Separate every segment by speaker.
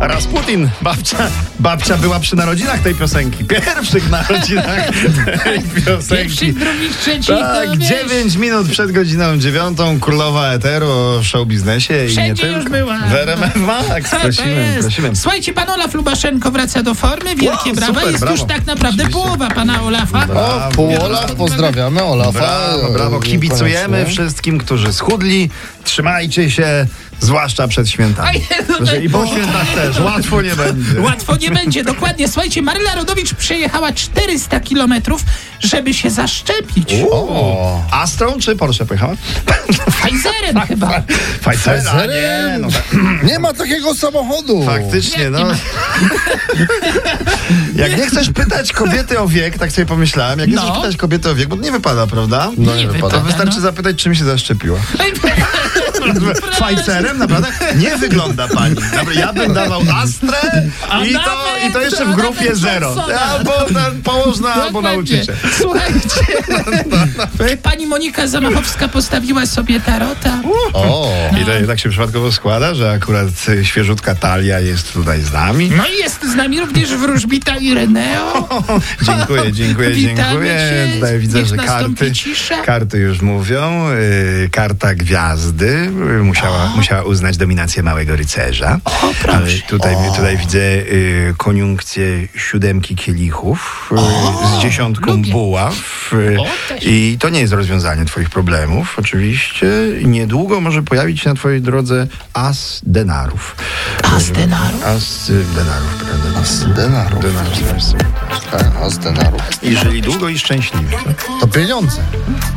Speaker 1: Rasputin. Babcia, babcia była przy narodzinach tej piosenki. Pierwszych narodzinach tej
Speaker 2: Pierwszy,
Speaker 1: piosenki.
Speaker 2: drugi, trzeci. no,
Speaker 1: Tak,
Speaker 2: wiesz,
Speaker 1: 9 minut przed godziną dziewiątą królowa eteru o showbiznesie i nie
Speaker 2: Wszędzie
Speaker 1: tylko.
Speaker 2: już była.
Speaker 1: W RMF Max.
Speaker 2: tak, to
Speaker 1: Prosimy,
Speaker 2: jest.
Speaker 1: prosimy.
Speaker 2: Słuchajcie, pan Olaf Lubaszenko wraca do formy. Wielkie
Speaker 1: Wow,
Speaker 2: brawa.
Speaker 1: super,
Speaker 2: jest
Speaker 1: brawo.
Speaker 2: już tak naprawdę
Speaker 1: Oczywiście. No,
Speaker 2: połowa pana Olafa.
Speaker 1: Brawo.
Speaker 3: O, pół Olaf, pozdrawiamy Olafa.
Speaker 1: Brawo, brawo. Kibicujemy
Speaker 3: Koniecznie.
Speaker 1: wszystkim, którzy schudli. Trzymajcie się, zwłaszcza przed świętami.
Speaker 2: A Jezu,
Speaker 1: Że I po
Speaker 2: o,
Speaker 1: świętach też. Łatwo nie będzie.
Speaker 2: Łatwo nie będzie, dokładnie. Słuchajcie, Maryla Rodowicz przejechała 400 kilometrów, żeby się zaszczepić.
Speaker 1: O. Astrą czy Porsche pojechała?
Speaker 2: Pfizerem
Speaker 1: Tak,
Speaker 2: chyba.
Speaker 1: Pfizera?
Speaker 3: Pfizerem?
Speaker 1: Nie, no tak.
Speaker 3: Nie ma takiego samochodu.
Speaker 1: Faktycznie,
Speaker 2: Nie,
Speaker 1: no.
Speaker 2: nie ma.
Speaker 1: Jak nie chcesz pytać kobiety o wiek, tak sobie pomyślałem, jak nie
Speaker 2: No.
Speaker 1: chcesz pytać kobiety o wiek, bo to nie wypada, prawda?
Speaker 3: No nie
Speaker 2: Nie
Speaker 3: wypada.
Speaker 1: To
Speaker 2: wypada.
Speaker 1: wystarczy zapytać, czym się zaszczepiła.
Speaker 2: Ej,
Speaker 1: Pfizerem, naprawdę? Nie wygląda pani. Dobra, ja bym dawał Astrę
Speaker 2: A
Speaker 1: i to,
Speaker 2: nawet-
Speaker 1: i to jeszcze w
Speaker 2: a
Speaker 1: grupie
Speaker 2: nawet
Speaker 1: zero.
Speaker 2: Johnsona.
Speaker 1: Albo ten położna, albo
Speaker 2: Dokładnie.
Speaker 1: nauczyciel.
Speaker 2: Słuchajcie, pani Monika Zamachowska postawiła sobie tarota.
Speaker 3: O.
Speaker 1: I to, tak się przypadkowo składa, że akurat y, świeżutka talia jest tutaj z nami.
Speaker 2: No i jest z nami również wróżbita Ireneo.
Speaker 1: Dziękuję, dziękuję,
Speaker 2: Witamy
Speaker 1: dziękuję.
Speaker 2: cię.
Speaker 1: Tutaj widzę,
Speaker 2: Niech
Speaker 1: że
Speaker 2: nastąpi
Speaker 1: karty,
Speaker 2: cisza.
Speaker 1: karty już mówią. Yy, karta gwiazdy yy, musiała, musiała uznać dominację małego rycerza.
Speaker 2: O,
Speaker 1: Ale
Speaker 2: proszę.
Speaker 1: tutaj, tutaj widzę yy, koniunkcję siódemki kielichów yy, z dziesiątką
Speaker 2: lubię.
Speaker 1: buław. Yy,
Speaker 2: O, też.
Speaker 1: I to nie jest rozwiązanie twoich problemów, oczywiście. Niedługo może pojawić się na twojej drodze as denarów.
Speaker 2: A z denaru.
Speaker 1: As y, denarów, prawda?
Speaker 3: Z denarów.
Speaker 1: Denarów, to jest-
Speaker 3: Tak, a z denarów.
Speaker 1: I żyli długo i szczęśliwie.
Speaker 3: To pieniądze.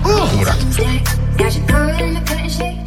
Speaker 4: Got your girl in the cutting shake.